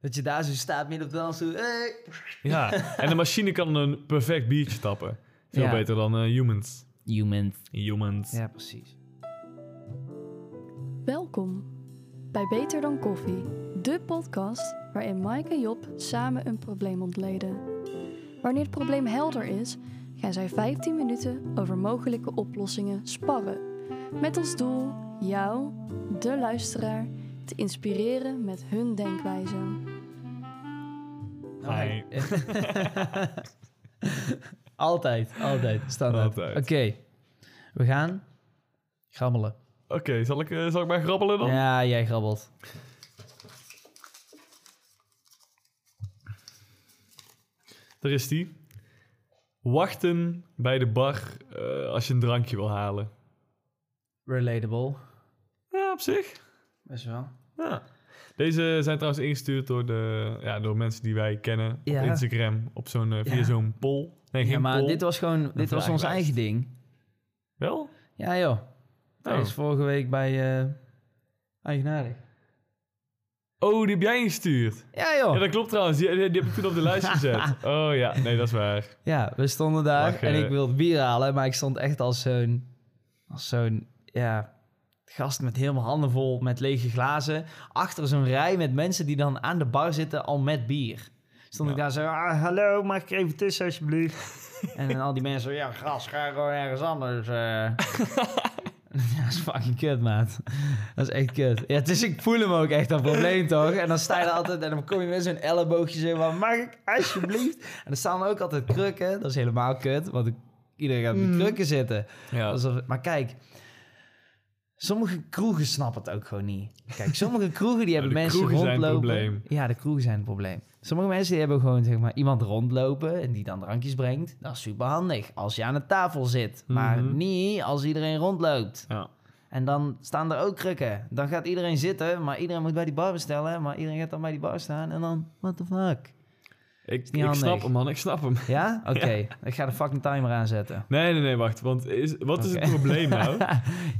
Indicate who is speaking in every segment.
Speaker 1: Dat je daar zo staat midden op de dans. zo, Hey.
Speaker 2: Ja, en de machine kan een perfect biertje tappen. Veel
Speaker 1: Ja.
Speaker 2: beter dan eh, humans.
Speaker 1: Human.
Speaker 2: Humans.
Speaker 1: Ja, precies.
Speaker 3: Welkom bij Beter dan Koffie, de podcast waarin Mike en Job samen een probleem ontleden. Wanneer het probleem helder is, gaan zij 15 minuten over mogelijke oplossingen sparren. Met als doel jou, de luisteraar, te inspireren met hun denkwijze.
Speaker 1: Nou,
Speaker 2: Hi.
Speaker 1: altijd, altijd. Standaard.
Speaker 2: Altijd.
Speaker 1: Oké, we gaan grammelen.
Speaker 2: Oké, zal, ik, eh, zal ik maar grabbelen dan?
Speaker 1: Ja, jij grabbelt.
Speaker 2: Daar is die. Wachten bij de bar eh, als je een drankje wil halen.
Speaker 1: Relatable.
Speaker 2: Ja, op zich.
Speaker 1: Best wel.
Speaker 2: Ja. Deze zijn trouwens ingestuurd door, de, ja, door mensen die wij kennen
Speaker 1: Ja.
Speaker 2: op Instagram. Op zo'n, eh, via
Speaker 1: Ja.
Speaker 2: zo'n poll. Nee, geen
Speaker 1: Ja, maar
Speaker 2: poll.
Speaker 1: dit was gewoon dit was ons
Speaker 2: vragenlijst.
Speaker 1: eigen ding.
Speaker 2: Wel?
Speaker 1: Ja, joh. Dat
Speaker 2: Oh.
Speaker 1: is vorige week bij eh Eigenaardig.
Speaker 2: Oh, die heb jij ingestuurd.
Speaker 1: Ja, joh.
Speaker 2: Ja, dat klopt trouwens. Die, die, die heb ik toen op de lijst gezet. Oh ja, nee, dat is waar.
Speaker 1: Ja, we stonden daar
Speaker 2: Lachen.
Speaker 1: en ik wilde bier halen, maar ik stond echt als zo'n, als zo'n, ja, gast met helemaal handen vol met lege glazen. Achter zo'n rij met mensen die dan aan de bar zitten al met bier. Stond ik
Speaker 2: Ja.
Speaker 1: daar zo, ah, hallo, mag ik even tussen alsjeblieft? en dan al die mensen, ja, gast, ga gewoon ergens anders. eh." Ja, dat is fucking kut, maat. Dat is echt kut. Ja, dus ik voel hem ook echt, dat probleem toch? En dan sta je er altijd en dan kom je met zo'n elleboogje zo van... Mag ik alsjeblieft? En er staan ook altijd krukken. Dat is helemaal kut, want ik- iedereen gaat op die krukken zitten.
Speaker 2: Ja.
Speaker 1: Alsof, maar kijk, sommige kroegen snappen het ook gewoon niet. Kijk, sommige kroegen die hebben
Speaker 2: de
Speaker 1: mensen
Speaker 2: kroegen zijn het
Speaker 1: rondlopen.
Speaker 2: probleem.
Speaker 1: Ja, de kroegen zijn het probleem. Sommige mensen die hebben gewoon zeg maar, iemand rondlopen en die dan drankjes brengt. Dat is super handig als je aan de tafel zit. Maar
Speaker 2: Mhm.
Speaker 1: niet als iedereen rondloopt.
Speaker 2: Ja.
Speaker 1: En dan staan er ook krukken. Dan gaat iedereen zitten, maar iedereen moet bij die bar bestellen. Maar iedereen gaat dan bij die bar staan en dan, what the fuck?
Speaker 2: Ik,
Speaker 1: niet
Speaker 2: ik snap
Speaker 1: handig.
Speaker 2: hem, man. Ik snap hem.
Speaker 1: Ja? Oké, ik ga de fucking timer aanzetten.
Speaker 2: Nee, nee, nee, wacht. Want is, wat is
Speaker 1: Oké.
Speaker 2: het probleem nou?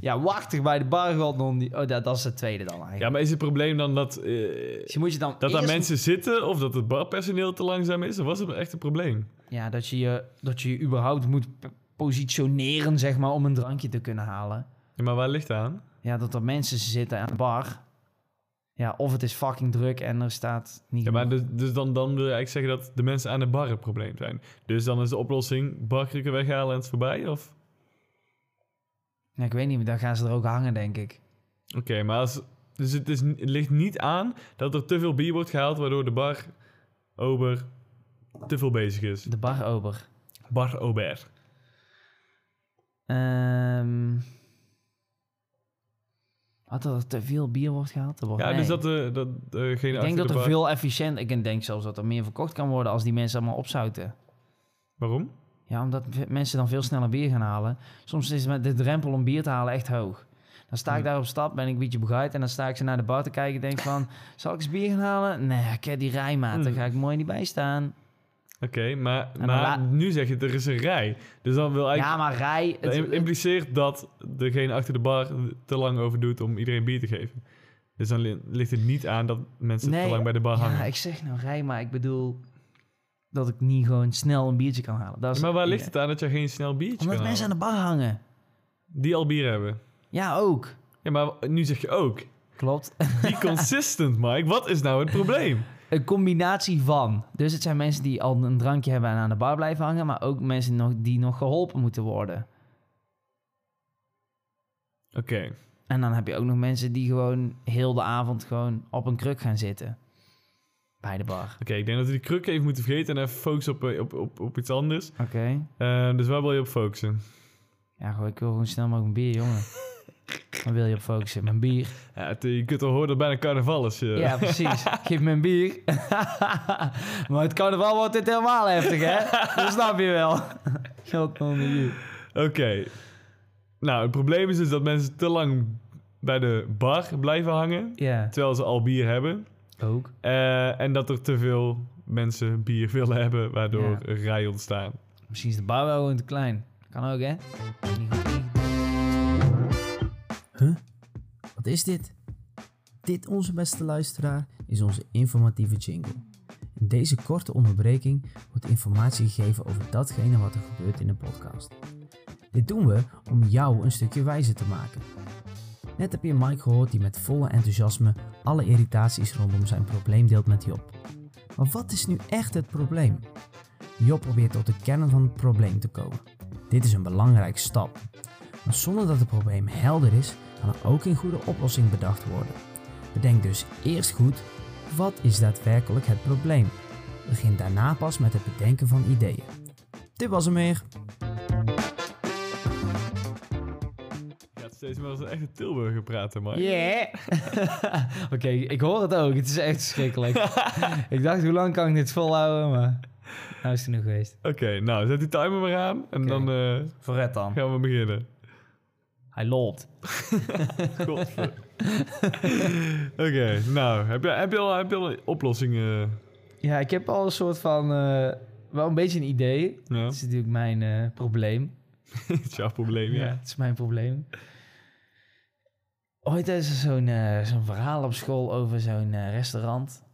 Speaker 1: ja, wachtig bij de bar, god non. die- Oh, dat, dat is het tweede dan eigenlijk.
Speaker 2: Ja, maar is het probleem dan dat, eh,
Speaker 1: Dus je moet je dan
Speaker 2: dat daar
Speaker 1: eerst-
Speaker 2: mensen zitten of dat het barpersoneel te langzaam is? Of was het echt een probleem?
Speaker 1: Ja, dat je, je, dat je je überhaupt moet p- positioneren, zeg maar, om een drankje te kunnen halen.
Speaker 2: Ja, maar waar ligt het aan?
Speaker 1: Ja, dat er mensen zitten aan de bar. Ja, of het is fucking druk en er staat niet...
Speaker 2: Ja, maar dus, dus dan, dan wil je eigenlijk zeggen dat de mensen aan de bar het probleem zijn. Dus dan is de oplossing barkrukken weghalen en het is voorbij? Of?
Speaker 1: Ja, ik weet niet, maar dan gaan ze er ook hangen, denk ik.
Speaker 2: Oké, maar als, dus het, is, het ligt niet aan dat er te veel bier wordt gehaald, waardoor de bar ober te veel bezig is.
Speaker 1: De barober.
Speaker 2: Bar ober.
Speaker 1: Ehm wat dat er te veel bier wordt gehaald? Dat wordt-
Speaker 2: Ja,
Speaker 1: nee.
Speaker 2: dus dat, eh dat eh geen
Speaker 1: ik denk dat
Speaker 2: de
Speaker 1: er
Speaker 2: bar...
Speaker 1: veel efficiënt... Ik denk zelfs dat er meer verkocht kan worden als die mensen allemaal opzouten.
Speaker 2: Waarom?
Speaker 1: Ja, omdat v- mensen dan veel sneller bier gaan halen. Soms is met de drempel om bier te halen echt hoog. Dan sta ik daar op stap, ben ik een beetje begaaid... en dan sta ik ze naar de bar te kijken en denk van... zal ik eens bier gaan halen? Nee, ik heb die rijmaat,
Speaker 2: Mm.
Speaker 1: daar ga ik mooi niet bij staan.
Speaker 2: Oké, maar,
Speaker 1: dan
Speaker 2: maar
Speaker 1: la-
Speaker 2: nu zeg je er is een rij. Dus dan wil eigenlijk...
Speaker 1: Ja, maar rij...
Speaker 2: dat
Speaker 1: het-
Speaker 2: im- impliceert dat degene achter de bar te lang over doet om iedereen bier te geven. Dus dan li- ligt het niet aan dat mensen te
Speaker 1: Nee,
Speaker 2: lang bij de bar hangen.
Speaker 1: Ja, ik zeg nou rij, maar ik bedoel... dat ik niet gewoon snel een biertje kan halen. Dat is
Speaker 2: Ja, maar waar
Speaker 1: Ja.
Speaker 2: ligt het aan dat je geen snel biertje
Speaker 1: Omdat
Speaker 2: kan
Speaker 1: mensen aan
Speaker 2: halen?
Speaker 1: de bar hangen.
Speaker 2: Die al bier hebben.
Speaker 1: Ja, ook.
Speaker 2: Ja, maar nu zeg je ook.
Speaker 1: Klopt.
Speaker 2: Be consistent, Mike. Wat is nou het probleem?
Speaker 1: Een combinatie van. Dus het zijn mensen die al een drankje hebben en aan de bar blijven hangen, maar ook mensen nog, die nog geholpen moeten worden.
Speaker 2: Oké.
Speaker 1: En dan heb je ook nog mensen die gewoon heel de avond gewoon op een kruk gaan zitten. Bij de bar.
Speaker 2: Oké, ik denk dat we die kruk even moeten vergeten en even focussen op, eh, op, op, op iets anders.
Speaker 1: Oké.
Speaker 2: Eh, dus waar wil je op focussen?
Speaker 1: Ja, gewoon, ik wil gewoon snel mogelijk een bier, jongen. Waar wil je op focussen? Mijn bier.
Speaker 2: Ja, het, eh, je kunt al horen dat het bijna carnaval is. eh.
Speaker 1: Ja, precies. Geef me een bier. maar het carnaval wordt dit helemaal heftig, hè? Dat snap je wel. Geld onder je.
Speaker 2: Oké. Nou, het probleem is dus dat mensen te lang bij de bar blijven hangen,
Speaker 1: Ja.
Speaker 2: terwijl ze al bier hebben.
Speaker 1: Ook.
Speaker 2: Eh, en dat er te veel mensen bier willen hebben, waardoor
Speaker 1: Ja.
Speaker 2: een rij ontstaan.
Speaker 1: Misschien is de bar wel gewoon te klein. Kan ook, hè? Huh? Wat is dit?
Speaker 4: dit, onze beste luisteraar, is onze informatieve jingle. In deze korte onderbreking wordt informatie gegeven over datgene wat er gebeurt in de podcast. Dit doen we om jou een stukje wijzer te maken. Net heb je Mike gehoord die met volle enthousiasme alle irritaties rondom zijn probleem deelt met Job. Maar wat is nu echt het probleem? Job probeert tot de kern van het probleem te komen. Dit is een belangrijke stap. Maar zonder dat het probleem helder is, kan er ook geen goede oplossing bedacht worden. Bedenk dus eerst goed, wat is daadwerkelijk het probleem? Begin daarna pas met het bedenken van ideeën. Dit was hem weer.
Speaker 2: Je gaat steeds meer als een echte Tilburger praten, Mike.
Speaker 1: Yeah! Oké, ik hoor het ook. Het is echt verschrikkelijk. ik dacht, hoe lang kan ik dit volhouden? Maar nou is het genoeg geweest.
Speaker 2: Oké, nou, zet die timer maar aan en
Speaker 1: Oké.
Speaker 2: dan eh,
Speaker 1: Vooruit dan.
Speaker 2: gaan we beginnen.
Speaker 1: Hij loopt.
Speaker 2: Godver. Oké, nou, heb je, heb, je al, heb je al oplossingen?
Speaker 1: Ja, ik heb al een soort van... eh, wel een beetje een idee.
Speaker 2: Ja,
Speaker 1: Dat is natuurlijk mijn eh, probleem.
Speaker 2: het is jouw probleem, ja.
Speaker 1: Ja, het is mijn probleem. Ooit is er zo'n eh, zo'n verhaal op school over zo'n eh, restaurant.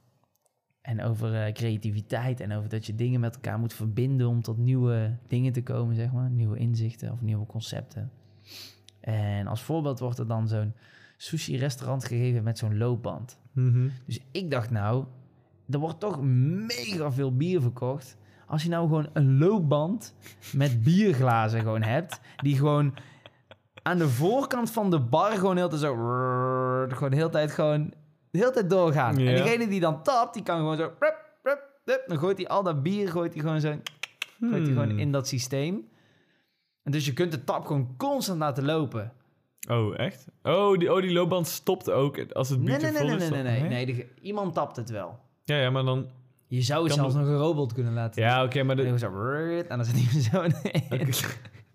Speaker 1: En over eh, creativiteit en over dat je dingen met elkaar moet verbinden om tot nieuwe dingen te komen, zeg maar. Nieuwe inzichten of nieuwe concepten. En als voorbeeld wordt er dan zo'n sushi-restaurant gegeven met zo'n loopband.
Speaker 2: Mhm.
Speaker 1: Dus ik dacht nou, er wordt toch mega veel bier verkocht. Als je nou gewoon een loopband met bierglazen gewoon hebt, die gewoon aan de voorkant van de bar gewoon heel de tijd zo, gewoon de hele tijd gewoon, de hele tijd doorgaan.
Speaker 2: Ja.
Speaker 1: En degene die dan tapt, die kan gewoon zo, rup, rup, rup. dan gooit hij al dat bier, gooit hij gewoon zo, gooit hij gewoon
Speaker 2: Hmm.
Speaker 1: in dat systeem. En dus je kunt de tap gewoon constant laten lopen.
Speaker 2: Oh, echt? Oh die, oh, die loopband stopt ook als het
Speaker 1: Nee,
Speaker 2: biertje
Speaker 1: nee, nee, nee,
Speaker 2: vol is.
Speaker 1: nee, nee,
Speaker 2: dan-
Speaker 1: nee, nee. de- Iemand tapt het wel.
Speaker 2: Ja, ja, maar dan...
Speaker 1: Je zou het
Speaker 2: Kan
Speaker 1: zelfs nog een robot kunnen laten
Speaker 2: Ja, oké, maar,
Speaker 1: En
Speaker 2: de,
Speaker 1: dan zo, "Rrrt," en dan zit hij zo in.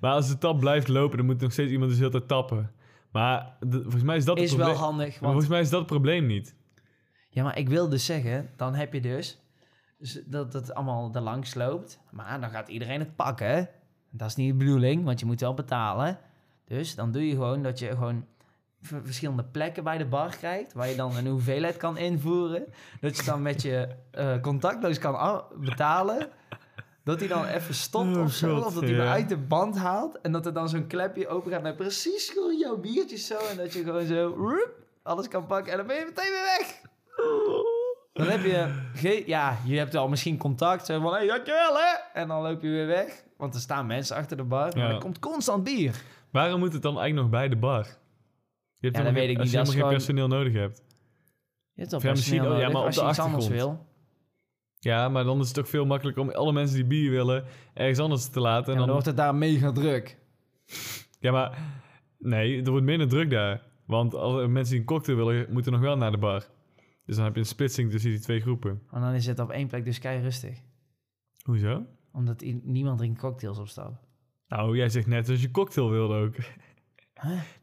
Speaker 2: maar als de tap blijft lopen, dan moet nog steeds iemand dus heel de hele tijd tappen. Maar de- volgens mij is dat
Speaker 1: Is
Speaker 2: het
Speaker 1: wel
Speaker 2: probleem.
Speaker 1: handig,
Speaker 2: maar
Speaker 1: want...
Speaker 2: volgens mij is dat het probleem niet.
Speaker 1: Ja, maar ik wil dus zeggen, dan heb je dus... dus dat het allemaal erlangs loopt. Maar dan gaat iedereen het pakken. Dat is niet de bedoeling, want je moet wel betalen. Dus dan doe je gewoon dat je gewoon... v- verschillende plekken bij de bar krijgt... waar je dan een hoeveelheid kan invoeren. Dat je dan met je eh, contactloos kan af- betalen... Dat hij dan even stopt
Speaker 2: Oh
Speaker 1: of zo.
Speaker 2: God,
Speaker 1: of dat hij hem
Speaker 2: ja.
Speaker 1: uit de band haalt. En dat er dan zo'n klepje open gaat met precies gewoon jouw biertjes zo. En dat je gewoon zo roep, alles kan pakken. En dan ben je meteen weer weg. Dan heb je... ge- Ja, je hebt al misschien contact. Zo van, hé, hey, dankjewel hè. En dan loop je weer weg. Want er staan mensen achter de bar. Maar
Speaker 2: Ja.
Speaker 1: er komt constant bier.
Speaker 2: Waarom moet het dan eigenlijk nog bij de bar? Je hebt
Speaker 1: dat
Speaker 2: helemaal geen-
Speaker 1: weet ik
Speaker 2: als
Speaker 1: niet,
Speaker 2: je
Speaker 1: dat is
Speaker 2: helemaal geen
Speaker 1: gewoon-
Speaker 2: personeel nodig hebt.
Speaker 1: Je hebt al
Speaker 2: Ja, misschien-
Speaker 1: personeel
Speaker 2: oh, ja,
Speaker 1: nodig
Speaker 2: maar op
Speaker 1: als
Speaker 2: de
Speaker 1: je iets anders
Speaker 2: achtergrond.
Speaker 1: wil.
Speaker 2: Ja, maar dan is het toch veel makkelijker om alle mensen die bier willen ergens anders te laten.
Speaker 1: En
Speaker 2: En
Speaker 1: dan
Speaker 2: dan,
Speaker 1: wordt het daar mega druk.
Speaker 2: Ja, maar nee, er wordt minder druk daar. Want alle mensen die een cocktail willen, moeten nog wel naar de bar. Dus dan heb je een splitsing tussen die twee groepen.
Speaker 1: En dan is het op één plek dus kei rustig.
Speaker 2: Hoezo?
Speaker 1: Omdat i- niemand drinkt cocktails op stap.
Speaker 2: Nou, jij zegt net als je cocktail wilde ook.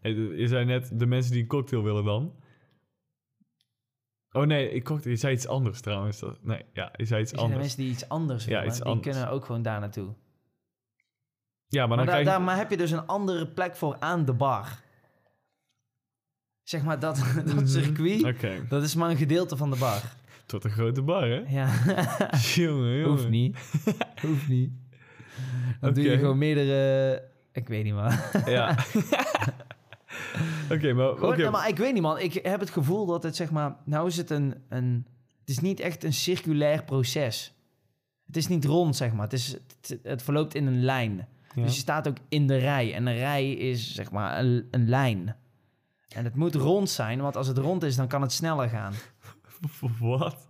Speaker 2: Nee, je zei net de mensen die een cocktail willen dan. Oh nee, ik cocktail, je zei iets anders trouwens. Dat- Nee, ja, je zei iets
Speaker 1: Er zijn
Speaker 2: anders.
Speaker 1: mensen die iets anders
Speaker 2: Ja,
Speaker 1: willen.
Speaker 2: iets
Speaker 1: die
Speaker 2: anders.
Speaker 1: kunnen ook gewoon daar naartoe.
Speaker 2: Ja, maar
Speaker 1: Maar,
Speaker 2: dan
Speaker 1: daar,
Speaker 2: krijg je...
Speaker 1: daar- maar heb je dus een andere plek voor aan de bar. Zeg maar dat, dat circuit,
Speaker 2: Mhm. Oké,
Speaker 1: dat is maar een gedeelte van de bar.
Speaker 2: het wordt een grote bar, hè?
Speaker 1: Ja,
Speaker 2: jongen, jongen.
Speaker 1: hoeft niet. Hoeft niet. Dan doe je
Speaker 2: Oké.
Speaker 1: gewoon meerdere... Ik weet niet, man.
Speaker 2: Ja. Oké, maar...
Speaker 1: Gewoon,
Speaker 2: oké.
Speaker 1: nee, nou, maar ik weet niet, man. Ik heb het gevoel dat het, zeg maar... Nou is het een... een het is niet echt een circulair proces. Het is niet rond, zeg maar. Het, is, het, het verloopt in een lijn.
Speaker 2: Ja.
Speaker 1: Dus je staat ook in de rij. En een rij is zeg maar een, een lijn. En het moet rond zijn, want als het rond is, dan kan het sneller gaan.
Speaker 2: Wat?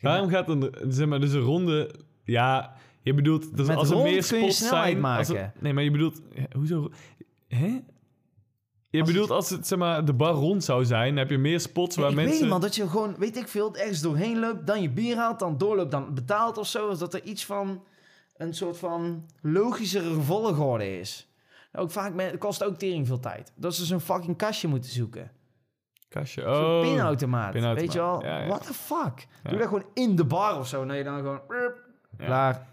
Speaker 2: Waarom gaat een, zeg maar, dus een ronde... Ja, je bedoelt... Dus
Speaker 1: Met
Speaker 2: als er
Speaker 1: rond
Speaker 2: meer
Speaker 1: kun je
Speaker 2: spots
Speaker 1: snelheid
Speaker 2: zijn... als er-
Speaker 1: maken.
Speaker 2: nee, maar je bedoelt... ja, Hoezo? Hè? Je
Speaker 1: Als
Speaker 2: bedoelt als het, zeg maar, de bar rond zou zijn, dan heb je meer spots waar
Speaker 1: ik
Speaker 2: mensen...
Speaker 1: weet niet, man, dat je gewoon, weet ik veel, ergens doorheen loopt, dan je bier haalt, dan doorloopt, dan betaalt of zo. Dus dat er iets van, een soort van logischere volgorde is. Nou, Ook vaak met, kost ook tering veel tijd. Dat ze zo'n fucking kastje moeten zoeken.
Speaker 2: Kastje,
Speaker 1: Zo'n
Speaker 2: oh.
Speaker 1: pinautomaat,
Speaker 2: pinautomaat.
Speaker 1: weet je wel?
Speaker 2: Ja, ja.
Speaker 1: What the fuck?
Speaker 2: Ja.
Speaker 1: Doe dat gewoon in de bar of zo. En dat je dan gewoon...
Speaker 2: Ja.
Speaker 1: Klaar.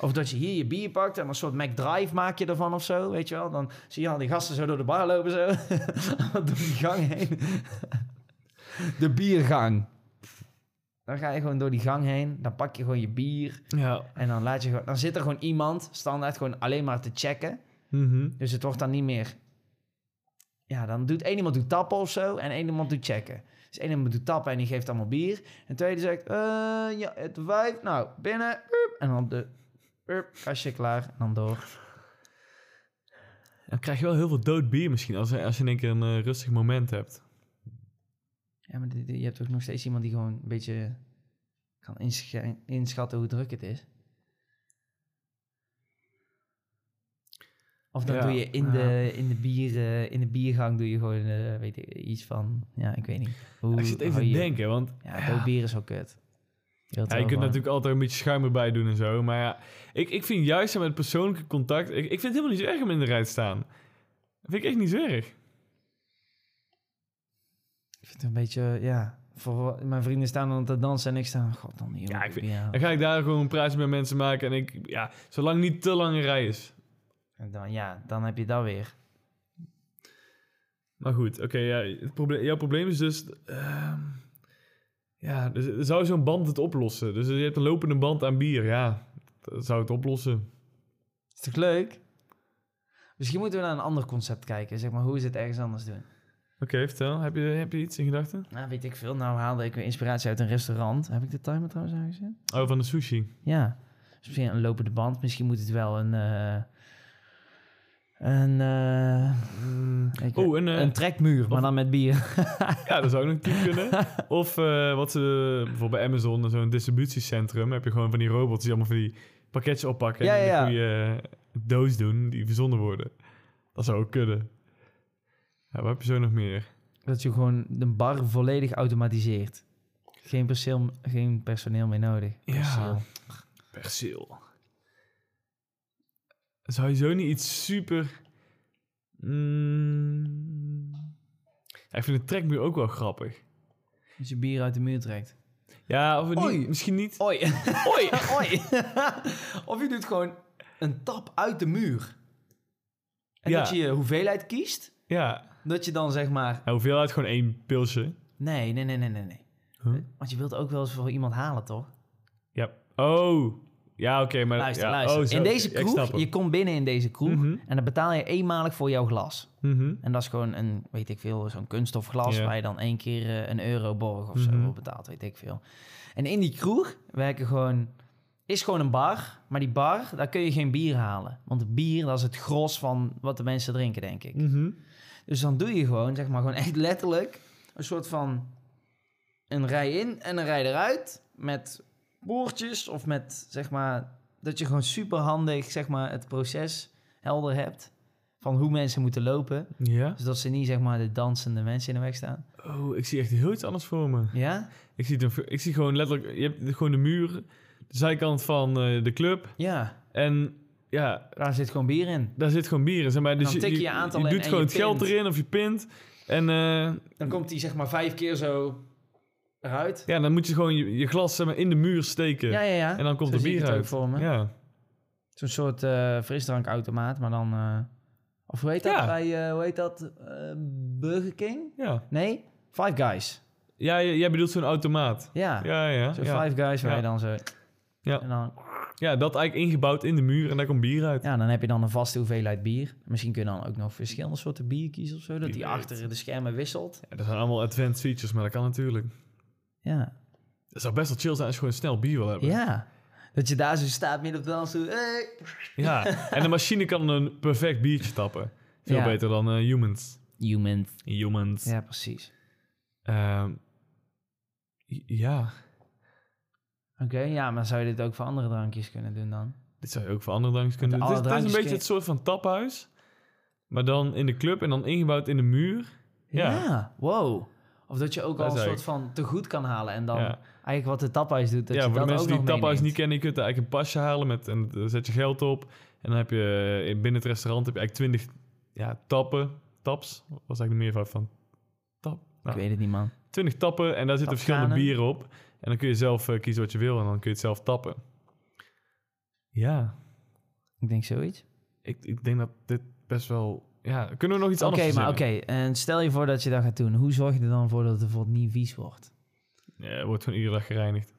Speaker 1: Of dat je hier je bier pakt en een soort McDrive maak je ervan of zo, weet je wel. Dan zie je al die gasten zo door de bar lopen, zo. door die gang heen. de biergang. Dan ga je gewoon door die gang heen, dan pak je gewoon je bier.
Speaker 2: Ja.
Speaker 1: En dan, laat je gewoon, dan zit er gewoon iemand standaard gewoon alleen maar te checken.
Speaker 2: Mhm.
Speaker 1: Dus het wordt dan niet meer... Ja, dan doet één iemand doet tappen of zo en één iemand doet checken. Dus één iemand doet tappen en die geeft allemaal bier. En tweede zegt, eh, ja, het vijf, nou, binnen. Hup. En dan de hup, kastje klaar en dan door.
Speaker 2: Dan krijg je wel heel veel dood bier misschien als, als je in één keer een eh, rustig moment hebt.
Speaker 1: Ja, maar die- die- je hebt ook nog steeds iemand die gewoon een beetje kan insch- inschatten hoe druk het is. Of dan
Speaker 2: Ja,
Speaker 1: doe je in,
Speaker 2: ja.
Speaker 1: de, in, de bier, eh, in de biergang doe je gewoon eh, weet ik, iets van, ja, ik weet niet. Hoe
Speaker 2: ik zit even
Speaker 1: hou
Speaker 2: te
Speaker 1: je-
Speaker 2: denken, want
Speaker 1: Ja, dood bier is ook kut. Je, wilt
Speaker 2: Ja,
Speaker 1: wel
Speaker 2: je kunt
Speaker 1: gewoon-
Speaker 2: natuurlijk altijd een beetje schuim erbij doen en zo. Maar ja, ik, ik vind juist met persoonlijke contact... Ik, ik vind het helemaal niet zo erg om in de rij te staan. Dat vind ik echt niet zo erg.
Speaker 1: Ik vind het een beetje, ja... Voor, mijn vrienden staan dan te dansen en ik sta... God, dan niet.
Speaker 2: Ja,
Speaker 1: jongen,
Speaker 2: ik vind-
Speaker 1: ja.
Speaker 2: Dan ga ik daar gewoon een praatje met mensen maken. En ik, ja, zolang niet te lang een rij is.
Speaker 1: En dan, ja, dan heb je dat weer.
Speaker 2: Maar goed, oké. ja, het probleem, jouw probleem is dus... ehm, ja, dus zou zo'n band het oplossen? Dus je hebt een lopende band aan bier. Ja, dat zou het oplossen.
Speaker 1: Is toch leuk? Misschien moeten we naar een ander concept kijken. Zeg maar, hoe is het ergens anders doen?
Speaker 2: Oké, vertel. Heb je, heb je iets in gedachten?
Speaker 1: Nou, weet ik veel. Nou haalde ik weer inspiratie uit een restaurant. Heb ik de timer trouwens aangezet?
Speaker 2: Oh, van de sushi.
Speaker 1: Ja. Dus misschien een lopende band. Misschien moet het wel een... eh, een... eh, ik weet-
Speaker 2: Oh, een, eh,
Speaker 1: een trekmuur, maar
Speaker 2: of-
Speaker 1: dan met bier.
Speaker 2: Ja, dat zou ook nog tien kunnen. Of eh, wat ze bijvoorbeeld bij Amazon, eh, zo'n distributiecentrum, heb je gewoon van die robots die allemaal van die pakketjes oppakken
Speaker 1: Ja,
Speaker 2: en in
Speaker 1: ja, ja.
Speaker 2: een goede eh, doos doen die verzonden worden. Dat zou ook kunnen. Ja, wat heb je zo nog meer?
Speaker 1: Dat je gewoon de bar volledig automatiseert. Geen, perceel, geen personeel meer nodig.
Speaker 2: Ja.
Speaker 1: Perceel.
Speaker 2: Perceel. Zou je zo niet iets super... Mm. Ja, ik vind de trekmuur ook wel grappig.
Speaker 1: Als je bier uit de muur trekt.
Speaker 2: Ja, of
Speaker 1: Oei.
Speaker 2: niet, misschien niet.
Speaker 1: Oi. Oi. of je doet gewoon een tap uit de muur. En
Speaker 2: Ja.
Speaker 1: dat je je hoeveelheid kiest.
Speaker 2: Ja.
Speaker 1: Dat je dan zeg maar...
Speaker 2: ja, hoeveelheid gewoon één pilsje.
Speaker 1: Nee, nee, nee, nee, nee. nee.
Speaker 2: Huh?
Speaker 1: Want je wilt ook wel eens voor iemand halen, toch?
Speaker 2: Ja. Oh. Ja, oké. maar
Speaker 1: Luister,
Speaker 2: ja.
Speaker 1: luister.
Speaker 2: Oh, zo.
Speaker 1: in deze
Speaker 2: Ja, ik snap
Speaker 1: kroeg,
Speaker 2: hem.
Speaker 1: je komt binnen in deze kroeg...
Speaker 2: Mhm.
Speaker 1: en dan betaal je eenmalig voor jouw glas.
Speaker 2: Mhm.
Speaker 1: En dat is gewoon een, weet ik veel, zo'n kunststof glas
Speaker 2: Ja.
Speaker 1: waar je dan één keer eh, een euro borg of
Speaker 2: Mhm.
Speaker 1: zo voor betaalt, weet ik veel. En in die kroeg werken gewoon, is gewoon een bar, maar die bar, daar kun je geen bier halen. Want bier, dat is het gros van wat de mensen drinken, denk ik.
Speaker 2: Mhm.
Speaker 1: Dus dan doe je gewoon, zeg maar, gewoon echt letterlijk een soort van een rij in en een rij eruit met boertjes of met, zeg maar, dat je gewoon superhandig, zeg maar, het proces helder hebt van hoe mensen moeten lopen.
Speaker 2: Ja.
Speaker 1: Zodat Dus ze niet zeg maar de dansende mensen in de weg staan.
Speaker 2: Oh, ik zie echt heel iets anders voor me.
Speaker 1: Ja?
Speaker 2: Ik zie, het- ik zie gewoon letterlijk... Je hebt gewoon de muur, de zijkant van eh, de club.
Speaker 1: Ja.
Speaker 2: En ja,
Speaker 1: Daar zit gewoon bier in.
Speaker 2: daar zit gewoon bier in. Zeg maar. dus
Speaker 1: Dan tik je aantal
Speaker 2: je
Speaker 1: in
Speaker 2: doet
Speaker 1: en
Speaker 2: gewoon
Speaker 1: je
Speaker 2: het geld
Speaker 1: pint.
Speaker 2: erin of je pint. En eh,
Speaker 1: Dan komt die zeg maar vijf keer zo eruit.
Speaker 2: ja, dan moet je gewoon je, je glas zeg maar, in de muur steken.
Speaker 1: Ja, ja, ja.
Speaker 2: En dan komt
Speaker 1: Zo
Speaker 2: er
Speaker 1: zie ik
Speaker 2: bier
Speaker 1: het
Speaker 2: uit.
Speaker 1: ook voor me.
Speaker 2: Ja.
Speaker 1: Zo'n soort eh, frisdrankautomaat, maar dan... eh, of hoe heet dat
Speaker 2: Ja.
Speaker 1: bij, eh, hoe heet dat, eh, Burger King?
Speaker 2: Ja.
Speaker 1: Nee? Five Guys.
Speaker 2: Ja, j- jij bedoelt zo'n automaat.
Speaker 1: Ja.
Speaker 2: Ja, ja.
Speaker 1: Zo'n
Speaker 2: Ja.
Speaker 1: Five Guys waar
Speaker 2: Ja.
Speaker 1: je dan zo...
Speaker 2: Ja.
Speaker 1: En dan,
Speaker 2: ja, dat eigenlijk ingebouwd in de muur en daar komt bier uit.
Speaker 1: ja, dan heb je dan een vaste hoeveelheid bier. Misschien kun je dan ook nog verschillende soorten bier kiezen of zo. Dat
Speaker 2: Wie
Speaker 1: die
Speaker 2: weet.
Speaker 1: achter de schermen wisselt.
Speaker 2: Ja, dat zijn allemaal advanced features, maar dat kan natuurlijk.
Speaker 1: Ja.
Speaker 2: Het zou best wel chill zijn als je gewoon snel bier wil hebben.
Speaker 1: Ja. Dat je daar zo staat midden op de dans. zo, Hey.
Speaker 2: Ja, En de machine kan een perfect biertje tappen. Veel
Speaker 1: Ja.
Speaker 2: beter dan eh, humans.
Speaker 1: Human.
Speaker 2: Humans.
Speaker 1: Ja, precies.
Speaker 2: Ehm, j- ja,
Speaker 1: Oké, ja, maar zou je dit ook voor andere drankjes kunnen doen dan?
Speaker 2: dit zou je ook voor andere drankjes kunnen
Speaker 1: Met
Speaker 2: doen. Dit,
Speaker 1: alle
Speaker 2: is- dit is een
Speaker 1: drankjes
Speaker 2: beetje het soort van taphuis. Maar dan in de club en dan ingebouwd in de muur. Ja.
Speaker 1: Wow. Of dat je ook
Speaker 2: Dat
Speaker 1: al een
Speaker 2: is
Speaker 1: soort van te goed kan halen en dan
Speaker 2: ja,
Speaker 1: eigenlijk wat de taphuis doet. Dat
Speaker 2: ja
Speaker 1: je
Speaker 2: voor
Speaker 1: dat
Speaker 2: de mensen
Speaker 1: ook
Speaker 2: die
Speaker 1: nog
Speaker 2: taphuis niet
Speaker 1: meeneemt.
Speaker 2: kennen, je kunt daar eigenlijk een pasje halen met, en daar zet je geld op. En dan heb je eh, binnen het restaurant heb je eigenlijk twintig ja, tappen. Taps, was eigenlijk de meervoud van tap. Nou,
Speaker 1: Ik weet het niet, man.
Speaker 2: 20 tappen en daar
Speaker 1: Tapkranen.
Speaker 2: zitten verschillende bieren op. En dan kun je zelf eh, kiezen wat je wil en dan kun je het zelf tappen. Ja,
Speaker 1: Ik denk zoiets.
Speaker 2: ik, ik denk dat dit best wel... Ja, kunnen we nog iets
Speaker 1: Oké,
Speaker 2: anders
Speaker 1: maar oké.
Speaker 2: verzinnen?
Speaker 1: En stel je voor dat je dat gaat doen. Hoe zorg je er dan voor dat het bijvoorbeeld niet vies wordt?
Speaker 2: Ja, het wordt gewoon iedere dag gereinigd.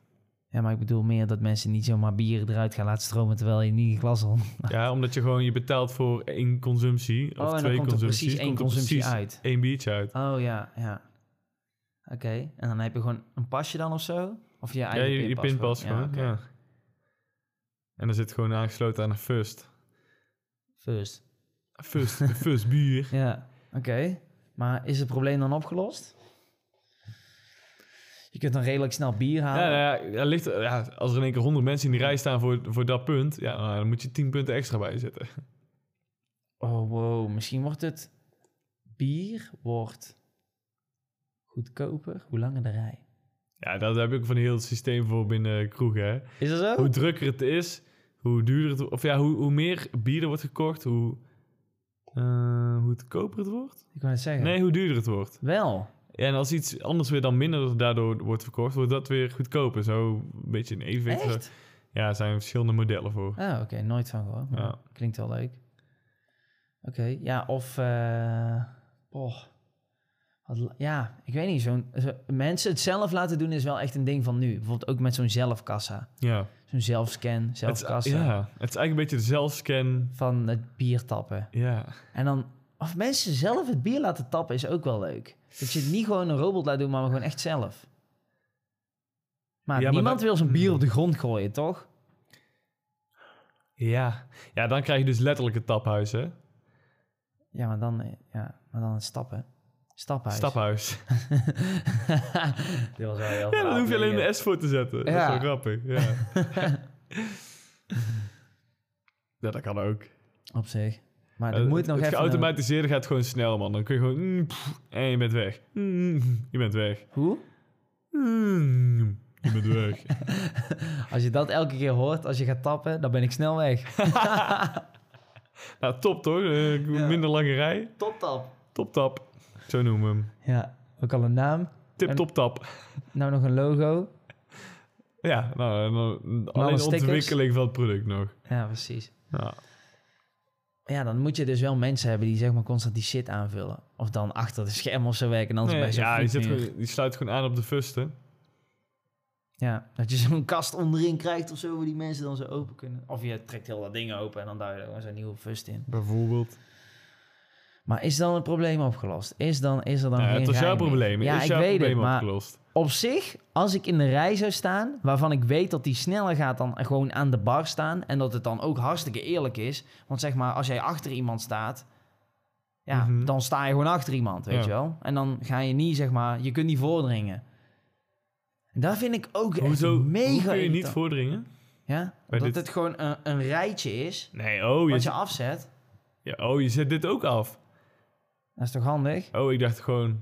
Speaker 1: Ja, maar ik bedoel meer dat mensen niet zomaar bieren eruit gaan laten stromen terwijl je niet in glas al.
Speaker 2: Ja, omdat je gewoon... Je betaalt voor één consumptie of
Speaker 1: Oh, en dan
Speaker 2: twee
Speaker 1: komt er
Speaker 2: consumpties.
Speaker 1: precies één
Speaker 2: komt er
Speaker 1: consumptie
Speaker 2: precies
Speaker 1: uit.
Speaker 2: één biertje uit.
Speaker 1: Oh ja, ja. Oké, en dan heb je gewoon een pasje dan of zo? Of je
Speaker 2: Ja,
Speaker 1: eigen
Speaker 2: je, je
Speaker 1: pinpas
Speaker 2: pinpas
Speaker 1: gewoon.
Speaker 2: gewoon.
Speaker 1: oké.
Speaker 2: ja. En dan zit gewoon aangesloten aan een first.
Speaker 1: First.
Speaker 2: First, first bier.
Speaker 1: Ja, oké. Maar is het probleem dan opgelost? Je kunt dan redelijk snel bier halen.
Speaker 2: Ja, nou ja, er ligt, ja, als er in één keer honderd mensen in die rij staan voor, voor dat punt, ja, nou, dan moet je tien punten extra bijzetten.
Speaker 1: Oh, wow. Misschien wordt het... Bier wordt goedkoper hoe langer de rij.
Speaker 2: Ja, dat heb ik van heel het systeem voor binnen kroegen. Hè.
Speaker 1: Is dat zo?
Speaker 2: Hoe drukker het is, hoe duurder het Of ja, hoe, hoe meer bier er wordt gekocht, hoe, eh, hoe goedkoper het wordt.
Speaker 1: Ik wou het zeggen.
Speaker 2: Nee, hoe duurder het wordt.
Speaker 1: Wel.
Speaker 2: En als iets anders weer dan minder daardoor wordt verkocht, wordt dat weer goedkoper. Zo een beetje in evenwicht.
Speaker 1: Echt?
Speaker 2: Ja, er zijn verschillende modellen voor.
Speaker 1: Oh, oké. Nooit van gehoord. maar
Speaker 2: Ja.
Speaker 1: Klinkt wel leuk. Oké. Ja, of... eh oh. Wat la- Ja, ik weet niet. Zo'n, zo, mensen het zelf laten doen is wel echt een ding van nu. Bijvoorbeeld ook met zo'n zelfkassa.
Speaker 2: Ja.
Speaker 1: Zo'n zelfscan,
Speaker 2: Het is, ah,
Speaker 1: zelfkassa.
Speaker 2: ja, het is eigenlijk een beetje de zelfscan.
Speaker 1: Van het bier tappen.
Speaker 2: Ja.
Speaker 1: En dan, of mensen zelf het bier laten tappen is ook wel leuk. Dat je het niet gewoon een robot laat doen, maar gewoon echt zelf. Maar
Speaker 2: Ja, maar Hmm.
Speaker 1: niemand
Speaker 2: dat-
Speaker 1: wil zijn bier op de grond gooien, toch?
Speaker 2: Ja. ja, dan krijg je dus letterlijk het taphuis, hè?
Speaker 1: Ja, maar dan, eh, ja, maar dan het stappen. Staphuis.
Speaker 2: Staphuis.
Speaker 1: Dit was wel heel
Speaker 2: Ja, dan hoef je alleen
Speaker 1: verhaal.
Speaker 2: de S voor te zetten. Dat is
Speaker 1: Ja.
Speaker 2: wel grappig. Ja. ja, dat kan ook.
Speaker 1: Op zich. Maar dat
Speaker 2: Eh,
Speaker 1: moet nog
Speaker 2: het
Speaker 1: even...
Speaker 2: geautomatiseerde gaat gewoon snel, man. Dan kun je gewoon... mm, pff, en je bent weg. Mm, je bent weg.
Speaker 1: een- eh, Hoe?
Speaker 2: Mm, je bent weg.
Speaker 1: Als je dat elke keer hoort, als je gaat tappen, dan ben ik snel weg.
Speaker 2: nou, top, toch? Eh, Minder lange rij.
Speaker 1: Top tap.
Speaker 2: Top tap. Zo noemen we hem.
Speaker 1: Ja, ook al een naam.
Speaker 2: Tip
Speaker 1: En-
Speaker 2: top tap.
Speaker 1: Nou nog een logo.
Speaker 2: Ja, nou, en dan- alleen de
Speaker 1: stickers.
Speaker 2: ontwikkeling van het product nog.
Speaker 1: Ja, precies.
Speaker 2: Ja.
Speaker 1: Ja, dan moet je dus wel mensen hebben die zeg maar constant die shit aanvullen. Of dan achter de scherm of zo werken. Anders
Speaker 2: Nee,
Speaker 1: bij zo'n
Speaker 2: ja, die, zit
Speaker 1: voetmuur.
Speaker 2: gewoon- die sluit gewoon aan op de fusten.
Speaker 1: Ja, dat je zo'n kast onderin krijgt of zo, waar die mensen dan zo open kunnen. Of je trekt heel dat ding open en dan duw je er gewoon zo'n nieuwe fust in.
Speaker 2: Bijvoorbeeld.
Speaker 1: Maar is dan het probleem opgelost? Is, dan, is er dan geen
Speaker 2: het was
Speaker 1: rij
Speaker 2: jouw
Speaker 1: meer?
Speaker 2: probleem.
Speaker 1: Ja,
Speaker 2: is
Speaker 1: ik
Speaker 2: jouw
Speaker 1: weet
Speaker 2: probleem
Speaker 1: het, maar
Speaker 2: opgelost?
Speaker 1: op zich, als ik in de rij zou staan, waarvan ik weet dat die sneller gaat dan gewoon aan de bar staan. En dat het dan ook hartstikke eerlijk is. Want zeg maar, als jij achter iemand staat, ja,
Speaker 2: Mhm.
Speaker 1: dan sta je gewoon achter iemand, weet
Speaker 2: Ja.
Speaker 1: je wel. En dan ga je niet, zeg maar, je kunt niet voordringen. En dat vind ik ook echt
Speaker 2: Hoezo
Speaker 1: mega
Speaker 2: hoe kun je niet
Speaker 1: irritant.
Speaker 2: voordringen?
Speaker 1: Ja,
Speaker 2: Bij
Speaker 1: omdat
Speaker 2: dit-
Speaker 1: het gewoon een, een rijtje is,
Speaker 2: Nee, oh je,
Speaker 1: wat je afzet.
Speaker 2: ja, oh, je zet dit ook af.
Speaker 1: Dat is toch handig?
Speaker 2: Oh, ik dacht gewoon,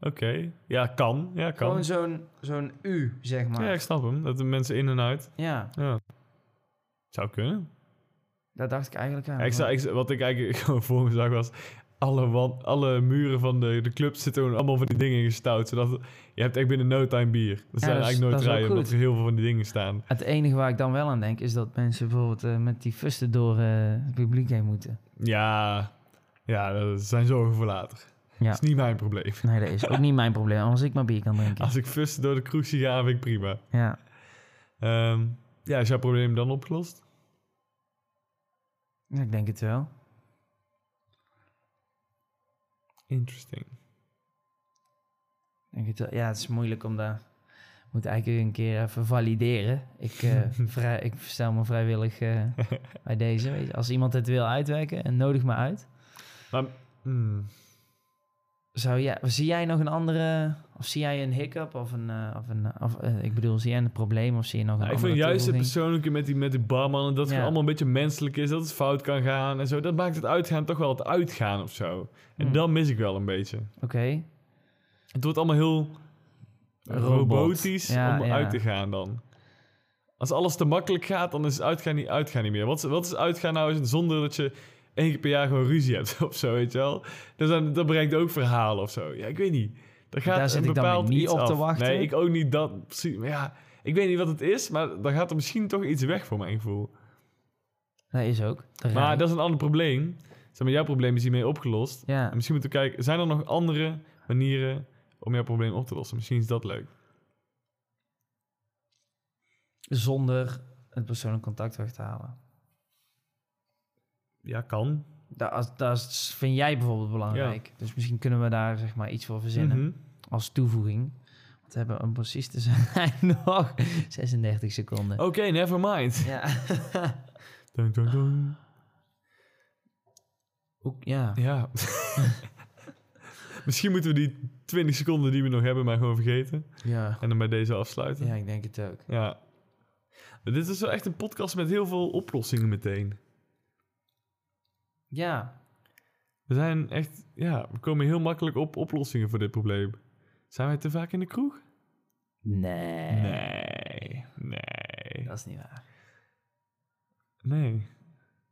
Speaker 2: oké. Ja, kan. Ja, kan.
Speaker 1: Gewoon zo'n zo'n U, zeg maar.
Speaker 2: Ja,
Speaker 1: Ja,
Speaker 2: ik snap hem. Dat de mensen in en uit. Ja. Zou kunnen.
Speaker 1: dat dacht ik eigenlijk aan.
Speaker 2: Ja, ik zou-
Speaker 1: maar-
Speaker 2: ik zou- wat ik eigenlijk gewoon voor me zag was... Alle, wan- alle muren van de, de club zitten gewoon allemaal van die dingen gestouwd. Zodat je hebt echt binnen no time bier. Er zijn
Speaker 1: dat is- dat
Speaker 2: eigenlijk nooit
Speaker 1: is ook
Speaker 2: rijden, omdat
Speaker 1: goed.
Speaker 2: er heel veel van die dingen staan.
Speaker 1: Het enige waar ik dan wel aan denk is dat mensen bijvoorbeeld eh, met die fusten door eh, het publiek heen moeten.
Speaker 2: Ja, ja dat zijn zorgen voor later.
Speaker 1: Ja.
Speaker 2: Dat is niet mijn probleem.
Speaker 1: Nee, dat is ook niet mijn probleem, als ik maar bier kan drinken.
Speaker 2: Als ik fusten door de kroeg zie gaan, vind ik prima.
Speaker 1: Ja.
Speaker 2: Ehm, ja, is jouw probleem dan opgelost?
Speaker 1: Ja, ik denk het wel.
Speaker 2: Interesting.
Speaker 1: Ik Denk het wel. Ja, het is moeilijk om daar. Ik moet eigenlijk een keer even valideren. Ik, eh, vrij, ik stel me vrijwillig eh, bij deze. Weet je. Als iemand het wil uitwerken, en nodig me uit.
Speaker 2: Hmm.
Speaker 1: Zou jij, zie jij nog een andere, of zie jij een hiccup of een, eh, of een of, eh, ik bedoel, zie jij een probleem of zie je nog een
Speaker 2: Nou, ik
Speaker 1: andere
Speaker 2: vind juist het
Speaker 1: toevoeging?
Speaker 2: persoonlijke met die, met die barman... en dat het
Speaker 1: Ja.
Speaker 2: allemaal een beetje menselijk is, dat het fout kan gaan en zo. Dat maakt het uitgaan toch wel het uitgaan of zo. En
Speaker 1: Hmm.
Speaker 2: dan mis ik wel een beetje.
Speaker 1: Oké.
Speaker 2: Het wordt allemaal heel
Speaker 1: Robot.
Speaker 2: robotisch
Speaker 1: Ja,
Speaker 2: om
Speaker 1: ja.
Speaker 2: uit te gaan dan. Als alles te makkelijk gaat, dan is het uitgaan niet, uitgaan niet meer. Wat is, wat is uitgaan nou eens zonder dat je één keer per jaar gewoon ruzie hebt of zo, weet je wel? Dus dan, dat bereikt ook verhalen of zo. Ja, ik weet niet. Er gaat
Speaker 1: Daar
Speaker 2: een
Speaker 1: zit ik dan
Speaker 2: bepaald
Speaker 1: weer niet
Speaker 2: iets
Speaker 1: op te
Speaker 2: af.
Speaker 1: wachten.
Speaker 2: Nee, ik ook niet dat. precies. Maar ja, ik weet niet wat het is, maar dan gaat er misschien toch iets weg voor mijn gevoel.
Speaker 1: Dat is ook. De rij.
Speaker 2: Maar dat is een ander probleem. Zeg maar, jouw probleem is hiermee opgelost.
Speaker 1: Ja.
Speaker 2: En misschien moeten we kijken, zijn er nog andere manieren om jouw probleem op te lossen? Misschien is dat leuk.
Speaker 1: Zonder het persoonlijk contact weg te halen.
Speaker 2: Ja, kan.
Speaker 1: Dat, als- dat is- vind jij bijvoorbeeld belangrijk. Dus misschien kunnen we daar zeg maar, iets voor verzinnen.
Speaker 2: Mhm.
Speaker 1: Als toevoeging. Want we hebben om precies te zijn nog 36 seconden.
Speaker 2: Oké, never mind.
Speaker 1: Ja.
Speaker 2: Dun, dun, dun.
Speaker 1: Ook, ja.
Speaker 2: Ja. Misschien moeten we die 20 seconden die we nog hebben, maar gewoon vergeten.
Speaker 1: Ja.
Speaker 2: En dan bij deze afsluiten.
Speaker 1: ja, ik denk het ook.
Speaker 2: Ja. Maar dit is wel echt een podcast met heel veel oplossingen meteen.
Speaker 1: Ja,
Speaker 2: We zijn echt, ja, we komen heel makkelijk op oplossingen voor dit probleem. Zijn wij te vaak in de kroeg?
Speaker 1: Nee.
Speaker 2: Nee. Nee.
Speaker 1: Dat is niet waar.
Speaker 2: Nee.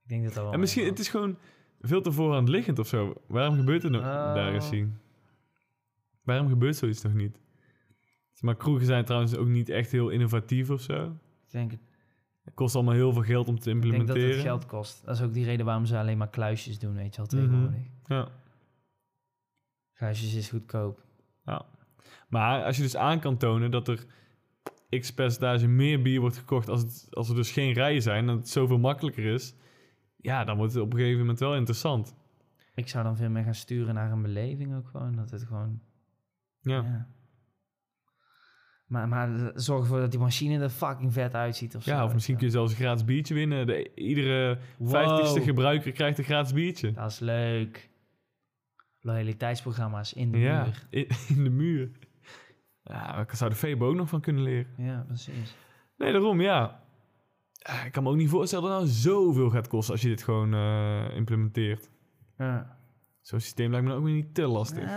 Speaker 1: Ik denk dat dat wel.
Speaker 2: En misschien, het
Speaker 1: meevalt.
Speaker 2: is gewoon veel te voorhand liggend of zo. Waarom gebeurt er nog
Speaker 1: Oh.
Speaker 2: daar eens zien? Waarom gebeurt zoiets nog niet? Maar kroegen zijn trouwens ook niet echt heel innovatief of zo.
Speaker 1: Ik denk, het-
Speaker 2: Het kost allemaal heel veel geld om te
Speaker 1: ik denk dat
Speaker 2: implementeren.
Speaker 1: het geld kost. Dat is ook die reden waarom ze alleen maar kluisjes doen, weet je wel, tegenwoordig.
Speaker 2: Mhm. Ja.
Speaker 1: Kluisjes is goedkoop.
Speaker 2: Maar als je dus aan kan tonen dat er x percentage meer bier wordt gekocht als, het, als er dus geen rijen zijn en het zoveel makkelijker is, ja, dan wordt het op een gegeven moment wel interessant.
Speaker 1: Ik zou dan veel meer gaan sturen naar een beleving ook gewoon. Dat het gewoon...
Speaker 2: Ja.
Speaker 1: Ja. Maar, maar zorg ervoor dat die machine er fucking vet uitziet of zo.
Speaker 2: Ja, of misschien kun je zelfs een gratis biertje winnen. De, iedere vijftigste gebruiker krijgt een gratis biertje.
Speaker 1: Dat is leuk. Loyaliteitsprogramma's in de
Speaker 2: Ja,
Speaker 1: muur.
Speaker 2: in, in de muur. Ja, daar zou de Febo ook nog van kunnen leren.
Speaker 1: Ja, precies.
Speaker 2: Nee, daarom, ja. Ah, Ik kan me ook niet voorstellen dat het nou zoveel gaat kosten als je dit gewoon eh, implementeert.
Speaker 1: Ja.
Speaker 2: Zo'n systeem lijkt me dan ook weer niet te lastig.
Speaker 1: Ah,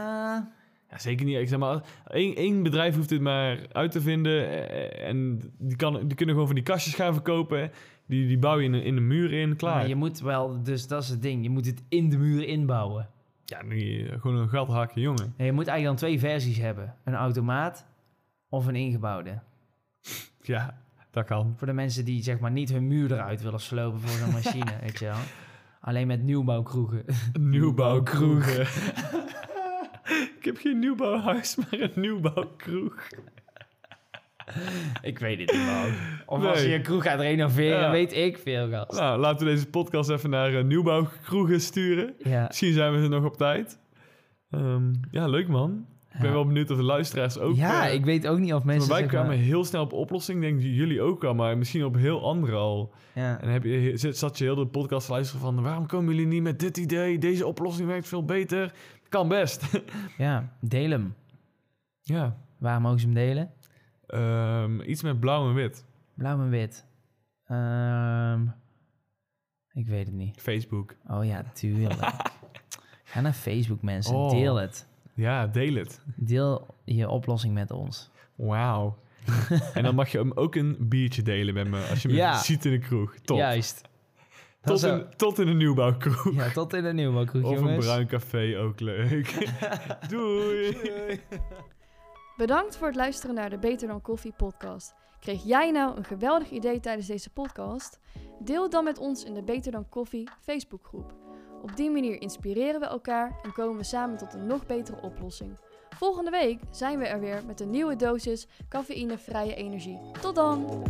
Speaker 2: Ja, zeker niet. Ik zeg maar, één, één bedrijf hoeft dit maar uit te vinden. eh, En die, kan, die kunnen gewoon van die kastjes gaan verkopen. Die, die bouw je in, een- in de muur in, klaar.
Speaker 1: maar je moet wel, dus dat is het ding. Je moet het in de muur inbouwen.
Speaker 2: Ja, nu, eh, gewoon een gat hakken, jongen.
Speaker 1: Nee, je moet eigenlijk dan twee versies hebben. Een automaat of een ingebouwde.
Speaker 2: Ja, dat kan.
Speaker 1: Voor de mensen die zeg maar niet hun muur eruit willen slopen voor zo'n machine, weet je wel. Alleen met nieuwbouwkroegen.
Speaker 2: Nieuwbouwkroegen. Ik heb geen nieuwbouwhuis, maar een nieuwbouwkroeg.
Speaker 1: ik weet het niet, man. Of
Speaker 2: Nee.
Speaker 1: als je een kroeg gaat renoveren,
Speaker 2: Ja.
Speaker 1: weet ik veel, gast.
Speaker 2: Nou, laten we deze podcast even naar eh, nieuwbouwkroegen sturen.
Speaker 1: Ja.
Speaker 2: Misschien zijn we er nog op tijd. Ehm, ja, leuk man. Ik ben
Speaker 1: Ja.
Speaker 2: wel benieuwd of de luisteraars ook...
Speaker 1: ja,
Speaker 2: eh,
Speaker 1: ik weet ook niet of
Speaker 2: Maar
Speaker 1: mensen...
Speaker 2: wij
Speaker 1: zeg
Speaker 2: kwamen
Speaker 1: maar-
Speaker 2: heel snel op oplossing. Ik Denk dat jullie ook al, maar misschien op heel andere al.
Speaker 1: ja.
Speaker 2: En heb je, zit- zat je heel de podcast te luisteren van... waarom komen jullie niet met dit idee? Deze oplossing werkt veel beter. Kan best.
Speaker 1: ja, deel hem.
Speaker 2: ja.
Speaker 1: Waar mogen ze hem delen?
Speaker 2: Ehm, iets met blauw en wit.
Speaker 1: Blauw en wit. Ehm, ik weet het niet.
Speaker 2: Facebook.
Speaker 1: Oh ja, tuurlijk. Ga naar Facebook, mensen.
Speaker 2: Oh.
Speaker 1: Deel het.
Speaker 2: Ja, deel het.
Speaker 1: Deel je oplossing met ons.
Speaker 2: Wauw. en dan mag je hem ook een biertje delen met me... als je me
Speaker 1: Ja.
Speaker 2: ziet in de kroeg. Top.
Speaker 1: Juist. Dat
Speaker 2: tot,
Speaker 1: is ook-
Speaker 2: in, tot in een nieuwbouwkroeg.
Speaker 1: Ja, tot in een nieuwe kroeg,
Speaker 2: of een
Speaker 1: jongens.
Speaker 2: bruin café, ook leuk. Doei.
Speaker 3: Bedankt voor het luisteren naar de Beter dan Koffie podcast. Kreeg jij nou een geweldig idee tijdens deze podcast? Deel het dan met ons in de Beter dan Koffie Facebookgroep. Op die manier inspireren we elkaar en komen we samen tot een nog betere oplossing. Volgende week zijn we er weer met een nieuwe dosis cafeïnevrije energie. Tot dan!